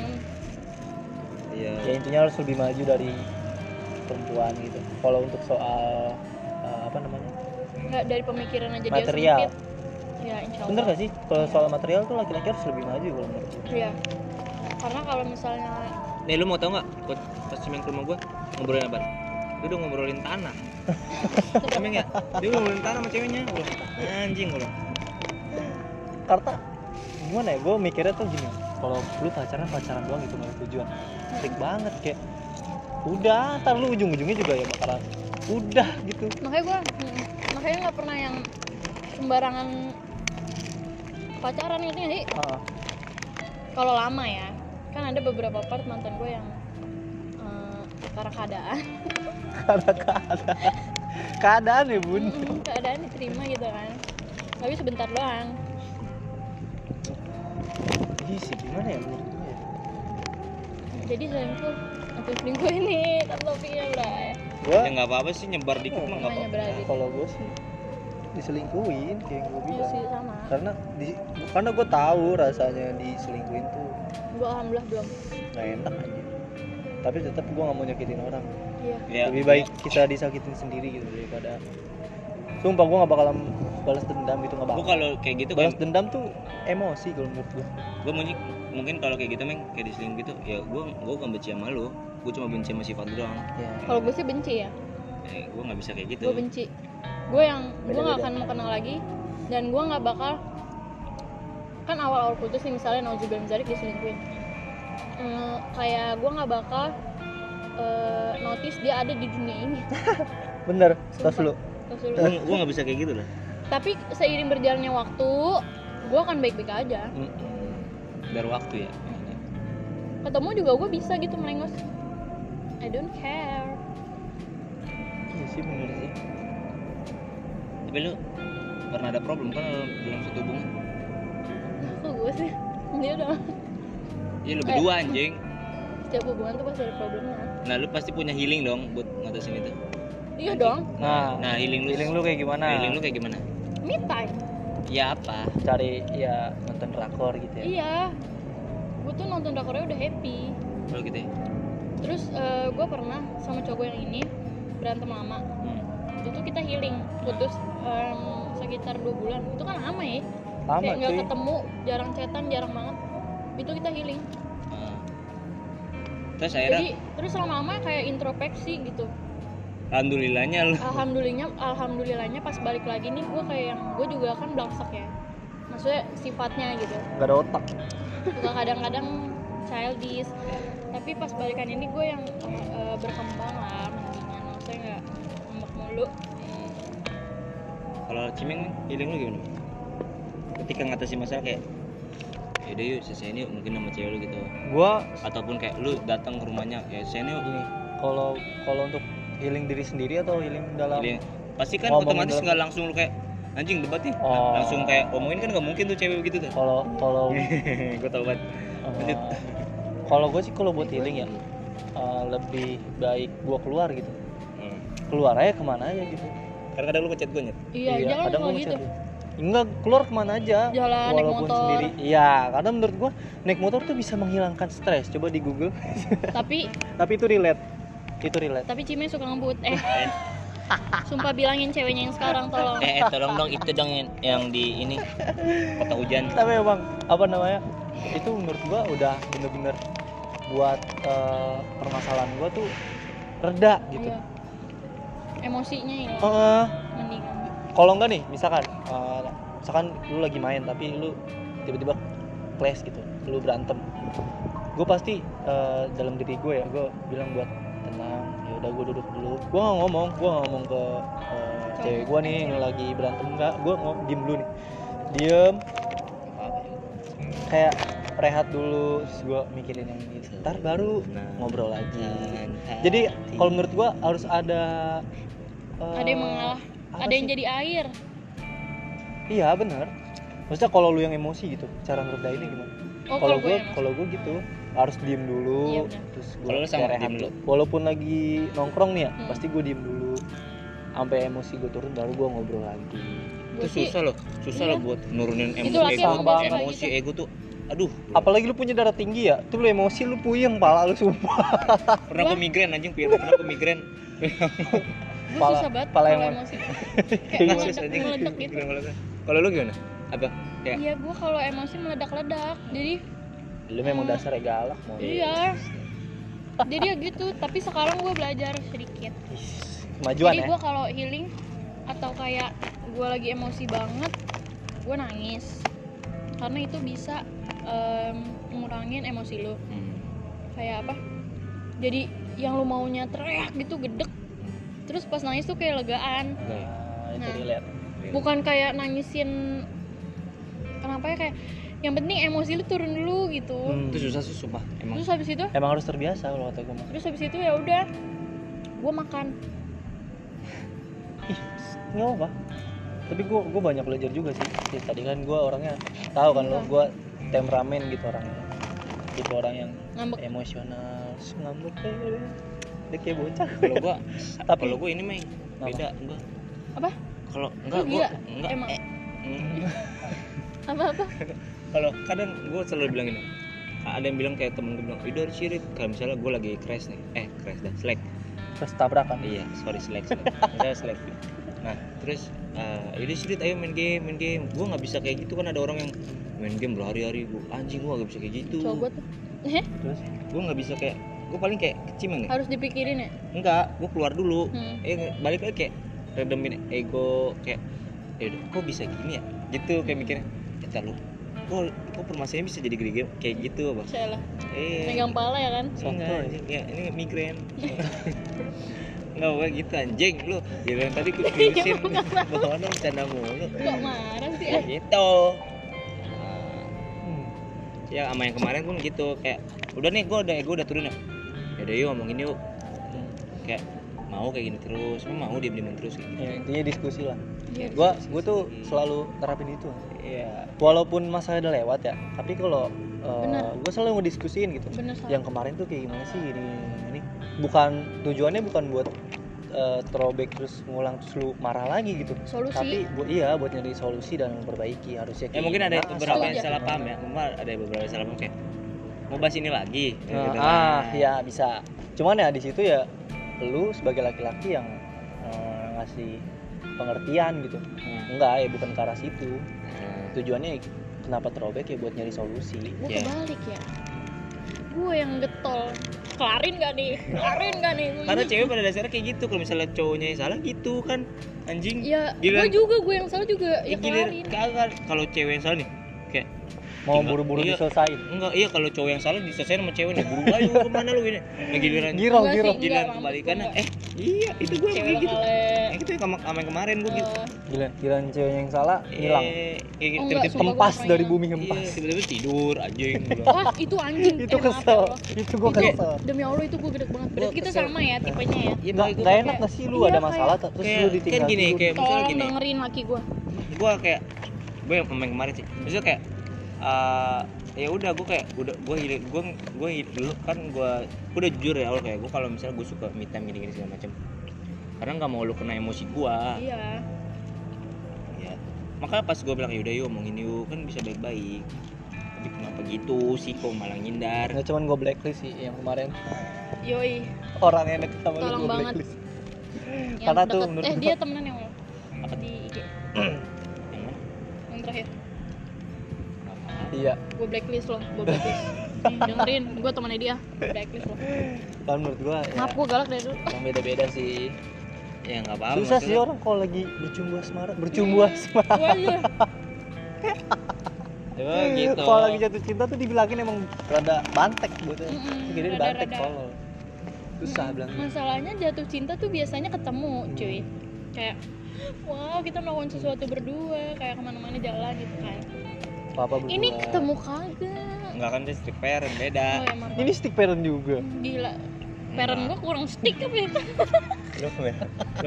B: iya
A: ya intinya harus lebih maju dari perempuan gitu kalau untuk soal eh, apa namanya
C: nggak dari pemikiran aja dia
A: Material.
C: sedikit ya insya Allah
A: bener gak sih kalau soal material tuh laki-laki harus lebih maju kalau menurut gue
C: Iya. karena kalau misalnya
B: nih lu mau tau nggak buat pas main ke rumah gue ngobrolin apa lu udah ngobrolin tanah emang ya dia udah ngobrolin tanah sama ceweknya gue anjing gue
A: karena gimana ya gue mikirnya tuh gini kalau lu pacaran pacaran doang gitu gak ada tujuan trik banget kayak udah ntar lu ujung-ujungnya juga ya bakalan udah gitu
C: makanya gue mm, makanya nggak pernah yang sembarangan pacaran gitu sih
A: Ah,
C: kalau lama ya kan ada beberapa part mantan gue yang eh, karena keadaan
A: karena keadaan keadaan ya bun
C: Mm, keadaan diterima gitu kan tapi sebentar doang
A: Ih, sih gimana ya menurut gue ya
C: jadi selingkuh atau selingkuh ini kan topiknya bray
A: gue
B: ya nggak apa-apa sih nyebar dikit mah nggak
C: namanya
B: apa-apa
C: berarti
A: kalau gue sih diselingkuhin kayak yang gue
C: iya
A: bilang
C: sih sama
A: karena di karena gue tahu rasanya diselingkuhin tuh
C: gua alhamdulillah belum
A: nggak enak aja tapi tetap gue nggak mau nyakitin orang
C: iya
B: ya
A: lebih baik kita disakitin sendiri gitu daripada sumpah gue nggak bakalan balas dendam gitu nggak
B: gue
A: bakal
B: kalau kayak gitu kan
A: balas dendam tuh emosi kalau menurut gue
B: gue mungkin mungkin kalau kayak gitu meng kayak diseling gitu ya gue gue gak benci sama lu gue cuma benci sama sifat lu doang
A: ya
C: kalau gue sih benci ya
B: eh, gue nggak bisa kayak gitu
C: gue benci gue yang gue nggak
A: Beda-beda.
C: akan mau kenal lagi dan gue nggak bakal kan awal-awal putus nih misalnya Naujubil Mizari diselingkuhin Eh, kayak gue nggak bakal eh, notice dia ada di dunia ini
A: bener terus
C: Sumpah.
A: lu
C: Terus dulu.
B: gue gue nggak bisa kayak gitu lah
C: tapi seiring berjalannya waktu gue akan baik-baik aja
B: biar waktu ya
C: ketemu juga gue bisa gitu melengos I don't care
A: iya sih bener sih
B: tapi lu pernah ada problem kan dalam dalam satu hubungan
C: kok gue sih dia udah
B: ya lu
C: Eh.
B: berdua anjing
C: setiap hubungan tuh pasti ada problemnya
B: nah lu pasti punya healing dong buat ngatasin itu
C: iya
B: Anjing.
C: dong
A: nah
B: nah healing lu
A: feeling lu kayak gimana
B: healing lu kayak gimana
C: me time
B: ya apa
A: cari ya nonton rakor gitu ya
C: iya gue tuh nonton drakornya udah happy
B: kalau gitu ya
C: terus gue pernah sama cowok yang ini berantem lama
B: Hmm.
C: itu kita healing putus em, sekitar dua bulan itu kan lama ya
A: lama
C: kayak nggak
A: cuy
C: ketemu jarang chatan jarang banget itu kita healing
B: Ah. terus akhirnya
C: jadi terus lama-lama kayak introspeksi gitu
B: alhamdulillahnya lu
C: alhamdulillahnya alhamdulillahnya pas balik lagi nih gue kayak yang gue juga kan belangsak ya maksudnya sifatnya gitu
A: nggak ada otak
C: suka kadang-kadang childish tapi pas balikan ini gue yang eh, berkembang lah mendingan maksudnya nggak ngambek mulu
B: kalau kalau cimeng feeling lu gimana Bang? ketika ngatasi masalah kayak yaudah yuk selesai ini yuk, mungkin sama cewek lu gitu
A: gue
B: ataupun kayak lu datang ke rumahnya ya selesai ini yuk, ini
A: kalau kalau untuk healing diri sendiri atau healing dalam
B: Jadi, pasti kan
A: Ngomongin
B: otomatis
A: dalam-
B: nggak langsung lu kayak anjing debat nih
A: Oh.
B: langsung kayak omongin kan nggak mungkin tuh cewek begitu tuh
A: kalau kalau
B: gue tau banget Lanjut.
A: eh, kalau gue sih kalau buat healing ya eh, lebih baik gue keluar gitu
B: hmm.
A: keluar aja kemana aja gitu
B: karena kadang lu ngechat gue nyet
C: iya, jangan
A: kadang
C: kalau
A: gua
C: gitu
A: ngechat dia. enggak keluar kemana aja
C: jalan naik
A: walaupun
C: motor
A: sendiri iya karena menurut gue naik motor tuh bisa menghilangkan stres coba di google
C: tapi
A: tapi itu relate itu relate
C: tapi Cime suka ngebut eh sumpah bilangin ceweknya yang sekarang tolong
B: eh, eh, tolong dong itu dong yang, yang di ini kota hujan
A: tapi emang apa namanya itu menurut gua udah bener-bener buat eh, permasalahan gua tuh reda gitu Oh. Eh,
C: Iya. emosinya ya
A: Heeh.
C: mendingan
A: kalau enggak nih misalkan eh, misalkan lu lagi main tapi lu tiba-tiba clash gitu lu berantem gue pasti eh, dalam diri gue ya gue bilang buat tenang ya udah gue duduk dulu gue nggak ngomong gue nggak ngomong ke eh, cewek gue nih yang lagi berantem enggak gue ngomong diem dulu nih diem kayak rehat dulu terus gue mikirin yang gitu ntar baru ngobrol lagi jadi kalau menurut gue harus ada eh,
C: ada yang mengalah
A: apa
C: ada yang
A: sih?
C: jadi air
A: Iya bener Maksudnya kalau lu yang emosi gitu Cara ngeredainnya gimana?
C: oh
A: kalau
C: gua
A: gue
C: yang-
A: kalau gue gitu Harus diem
C: Iya,
A: dulu
C: bener.
A: Terus
B: Kalau lu
A: gue
B: sama diem dulu.
A: Walaupun lagi nongkrong nih ya
C: Hmm.
A: Pasti gue diem dulu Sampai emosi gue turun Baru gue ngobrol lagi
C: gua
B: itu
C: sih
B: susah loh susah
C: Iya.
B: loh buat nurunin
C: Itu
B: emosi
C: laki
B: ego
A: sama
C: cewek
B: emosi
C: gitu.
B: ego tuh aduh
A: Apalagi lu punya darah tinggi ya Tuh lu emosi lu puyeng Pala lu sumpah
C: Ah,
B: pernah gue
C: iya.
B: migrain anjing Pir. pernah gue migrain
C: gua
A: pala-
C: susah banget
A: pala
C: kalau
A: yang mana? Iya,
C: emosi kayak
B: Kasus,
C: meledak
B: anjing.
C: meledak Iya, gitu
B: Migrain meledak. kalau lu gimana apa ya
C: iya gua kalau emosi meledak-ledak jadi
A: Lu memang dasar ya galak mau
C: Hmm. iya jadi ya gitu tapi sekarang gua belajar sedikit
A: Kemajuan
C: Jadi
A: ya
C: gue kalau healing atau kayak gue lagi emosi banget, gue nangis karena itu bisa em, ngurangin emosi lu.
B: Hmm.
C: Kayak apa? Jadi yang lu maunya teriak gitu gedek, terus pas nangis tuh kayak legaan.
B: Enggak ya?
A: Nah, Itu
C: Nah.
A: relate
C: Bukan kayak nangisin kenapa ya kayak yang penting emosi lu turun dulu gitu.
A: Hmm.
B: itu susah sih sumpah emang
C: Terus habis itu,
A: Emang harus terbiasa kalau kata gue
C: terus habis itu ya udah gue makan.
A: nggak apa tapi gue gue banyak belajar juga sih Sih, tadi kan gue orangnya tahu kan lo gue temperamen gitu orangnya gitu orang yang
C: Ngambek
A: emosional terus ngambek kayak gitu. dia kayak bocah
B: kalau gua
A: Tapi-
B: kalau gua ini main
A: Apa?
B: beda gua
C: Apa?
B: kalau enggak
C: Lu
B: gua
C: gila?
B: enggak
C: emang
B: Mm.
C: apa-apa.
B: kalau kadang gue selalu bilang gini ada yang bilang kayak temen gue bilang itu harus sirik kalau misalnya gue lagi crash nih eh crash dah slack
A: terus tabrakan
B: iya sorry slack slack misalnya slack nah terus eh itu sirik ayo main game main game gue nggak bisa kayak gitu kan ada orang yang main game berhari-hari gue anjing gue nggak bisa kayak gitu
C: Coba gua tuh.
A: terus
B: gue nggak bisa kayak gue paling kayak keciman ya
C: harus dipikirin ya.
B: enggak gue keluar dulu
C: Hmm.
B: eh balik lagi kayak redemin ego kayak ya udah kok bisa gini ya gitu kayak mikirnya kata lu kok kok permasalahannya bisa jadi gede kayak gitu bang
C: Saya lah,
B: eh
C: megang pala ya kan?
A: Sotoy.
B: enggak, anjing. ya ini migrain nggak gue gitu anjing lu giliran tadi gue terusin bawa lu bercanda mulu
C: Kok marah sih?
B: ya
C: Eh,
B: gitu Nah,
A: hmm.
B: ya sama yang kemarin pun gitu kayak udah nih gue udah ego udah turun ya yaudah yuk ngomongin yuk kayak mau kayak gini terus lu mau dia diemin terus kayak
A: ya,
B: gitu
A: intinya diskusi lah
C: iya.
A: gue gue tuh selalu terapin itu
B: iya
A: walaupun masalah udah lewat ya tapi kalau
C: Bener.
A: gue selalu ngediskusiin gitu
C: Bener salah.
A: yang kemarin tuh kayak gimana sih ini ini bukan tujuannya bukan buat eh, throwback terus ngulang terus lu marah lagi gitu
C: Solusi.
A: tapi bu- iya buat nyari solusi dan memperbaiki harusnya
B: ya mungkin ada
A: gimana, Ah,
B: beberapa yang
C: setuju.
B: salah paham ya mungkin ada beberapa yang salah paham kayak mau bahas ini lagi
A: Nah,
B: Gitu kan.
A: ah ya bisa cuman ya di situ ya lu sebagai laki-laki yang eh, ngasih pengertian gitu
B: Nah,
A: enggak ya bukan ke arah situ
B: nah.
A: tujuannya kenapa throwback ya buat nyari solusi
C: Gue
B: Iya.
C: kebalik ya. Gue yang getol. Kelarin gak nih? Kelarin gak nih?
B: Karena cewek pada dasarnya kayak gitu kalau misalnya cowoknya yang salah gitu kan anjing.
C: Ya,
B: Giliran-
C: gue juga, gue yang salah juga.
B: Ya,
C: Ya
B: gilir
C: kelarin.
B: kagak kalau cewek yang salah nih kayak
A: mau
B: Tinggal-
A: buru-buru
B: iya.
A: diselesain
B: enggak iya kalau cowok yang salah diselesain sama cewek nih buru ayo kemana lu ini nah giliran
A: giro
C: Gua sih
A: giro
C: Enggak,
B: giliran
C: mampus,
B: kebalikan
C: enggak.
B: eh iya itu gue kayak
C: cewek
B: gitu
C: kale
B: Eh, itu yang sama sama yang kemarin gue gitu
C: eh,
A: gila gila ceweknya yang salah hilang
B: Eh, kayak gitu
C: Oh, enggak,
B: tiba-tiba
C: sumpah.
A: hempas
C: pernah
A: dari
C: hilang.
A: bumi
B: iya,
A: hempas
B: tiba-tiba tidur anjing
C: wah itu anjing
A: Iya. itu
C: Eh, maaf ya
A: kesel
C: Allah.
A: itu
B: Iya.
A: gua
C: Itu-
A: kesel
C: demi allah itu gue gede banget berarti
B: Gua
C: kita
B: kesel.
C: sama
A: Nah,
C: ya tipenya ya
B: Iya,
A: nggak
B: makanya gua
A: nggak
B: kayak-
A: enak nggak sih lu
C: Iya,
A: ada
C: kayak-
A: masalah terus lu
B: kayak kan
A: ditinggal
B: gini
A: tidur.
B: kayak misalnya
C: tolong
B: gini
C: dengerin laki gue
A: Nah.
B: gue kayak gue yang pemain kemarin sih maksudnya kayak eh, ya udah gue kayak udah gue hilir gue gue dulu kan gue udah jujur ya awal kayak gue kalau misalnya gue suka me time gini-gini segala macam karena nggak mau lu kena emosi gue
C: iya
B: ya makanya pas gue bilang yaudah yuk omongin yuk kan bisa baik-baik tapi kenapa gitu sih kok malah ngindar
A: nggak cuman gua blacklist sih yang kemarin
C: yoi
A: orang yang deket sama lu
C: Tolong
A: gua
C: banget.
A: blacklist
C: yang
A: Karena tuh
C: deket-
A: menurut
C: eh
A: gua-
C: dia temenan yang lo
B: Apa?
C: di IG
B: yang mana
C: yang terakhir
A: iya
C: gue blacklist lo gue blacklist Nih, dengerin gue temannya dia blacklist lo
A: kan menurut gua ya,
C: maaf gue galak dari dulu
A: yang beda-beda sih
B: ya nggak apa-apa
A: susah sih
B: maksudnya- Iya.
A: orang kalau lagi bercumbu asmara bercumbu asmara
C: gue aja
B: Ya, gitu
A: kalau lagi jatuh cinta tuh dibilangin emang rada bantek gitu
C: Mm-mm,
A: jadi
C: rada-rada.
A: bantek kalau susah bilang
C: masalahnya jatuh cinta tuh biasanya ketemu cuy kayak wow kita melakukan sesuatu berdua kayak kemana-mana jalan gitu kan
A: papa berdua
C: ini ketemu kagak
B: nggak kan dia strict parent
C: oh,
B: beda
C: emang
A: Nah, ini stick parent juga
C: gila parent gue kurang stick apa ya
B: lu ya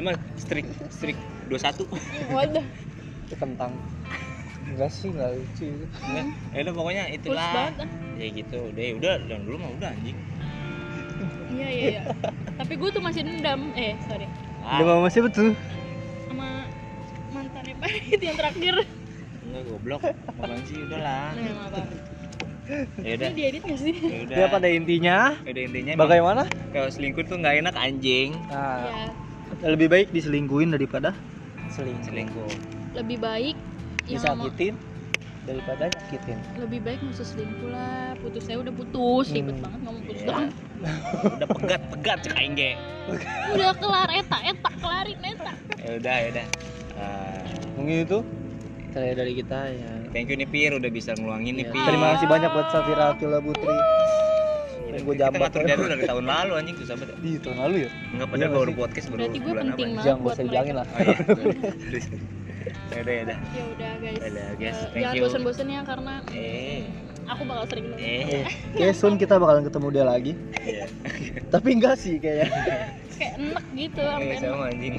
B: lu mah strict strict 21
C: waduh
A: itu kentang enggak sih enggak lucu itu.
B: Enggak. ya udah pokoknya
C: puls
B: itulah
C: Hmm. banget ah.
B: ya gitu udah ya udah dan dulu mah udah anjing
C: iya iya iya tapi gue tuh masih dendam eh sorry
A: udah
B: ah
A: mama siapa tuh
C: sama mantannya Parit yang terakhir
B: enggak goblok apaan sih udahlah
C: nah, emang apa
B: ya udah
C: Nah, ini diedit nggak sih
B: ya udah Ya
A: ya pada intinya
B: udah intinya emang
A: bagaimana
B: kalau selingkuh tuh nggak enak anjing
A: nah,
C: ya
A: lebih baik diselingkuin daripada selingkuh
B: selingkuh Ya,
C: lebih baik yang sama-
B: gitu.
A: disakitin daripada nyakitin
C: lebih baik musuh selingkuh lah putus saya udah putus ribet
A: Hmm.
C: banget ngomong putus
B: Iya.
C: doang
B: udah pegat pegat cek aing ge
C: udah kelar eta eta kelarin eta
B: ya udah ya udah Ah,
A: mungkin itu saya dari kita ya
B: thank you nih Pir udah bisa ngeluangin nih
C: Iya.
A: Ya,
B: Pir
A: terima kasih banyak buat Safira Akila Putri
B: Udah,
A: Gua
B: kita
A: jambak.
B: ngatur dia dulu dari tahun lalu anjing susah banget
A: di tahun lalu ya
B: Enggak padahal
A: Iya,
B: baru
A: masih.
B: podcast baru
C: berarti gue
B: bulan apa ya?
C: penting banget
A: jangan gak
C: buat
A: usah dibilangin
C: mereka
A: lah
B: Oh iya. Ya udah ya udah.
C: ya udah guys
B: Dadah, guys.
C: Eh,
B: Thank
C: jangan
B: you.
C: bosen-bosen ya karena
B: Eh.
C: aku bakal sering banget
B: Eh.
A: Eh, Oke, soon kita bakalan ketemu dia lagi.
B: Iya.
A: Tapi enggak sih kayaknya.
C: kayak enak gitu
B: Iya,
C: sampai enak.
B: sama anjing.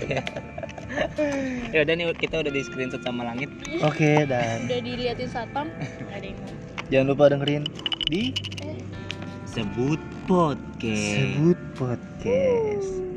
B: ya udah nih kita udah di screenshot sama langit.
A: Oke, dan
C: udah diliatin satpam nggak ada yang mau
A: jangan lupa dengerin di
B: Sebut podcast.
A: Sebut Podcast.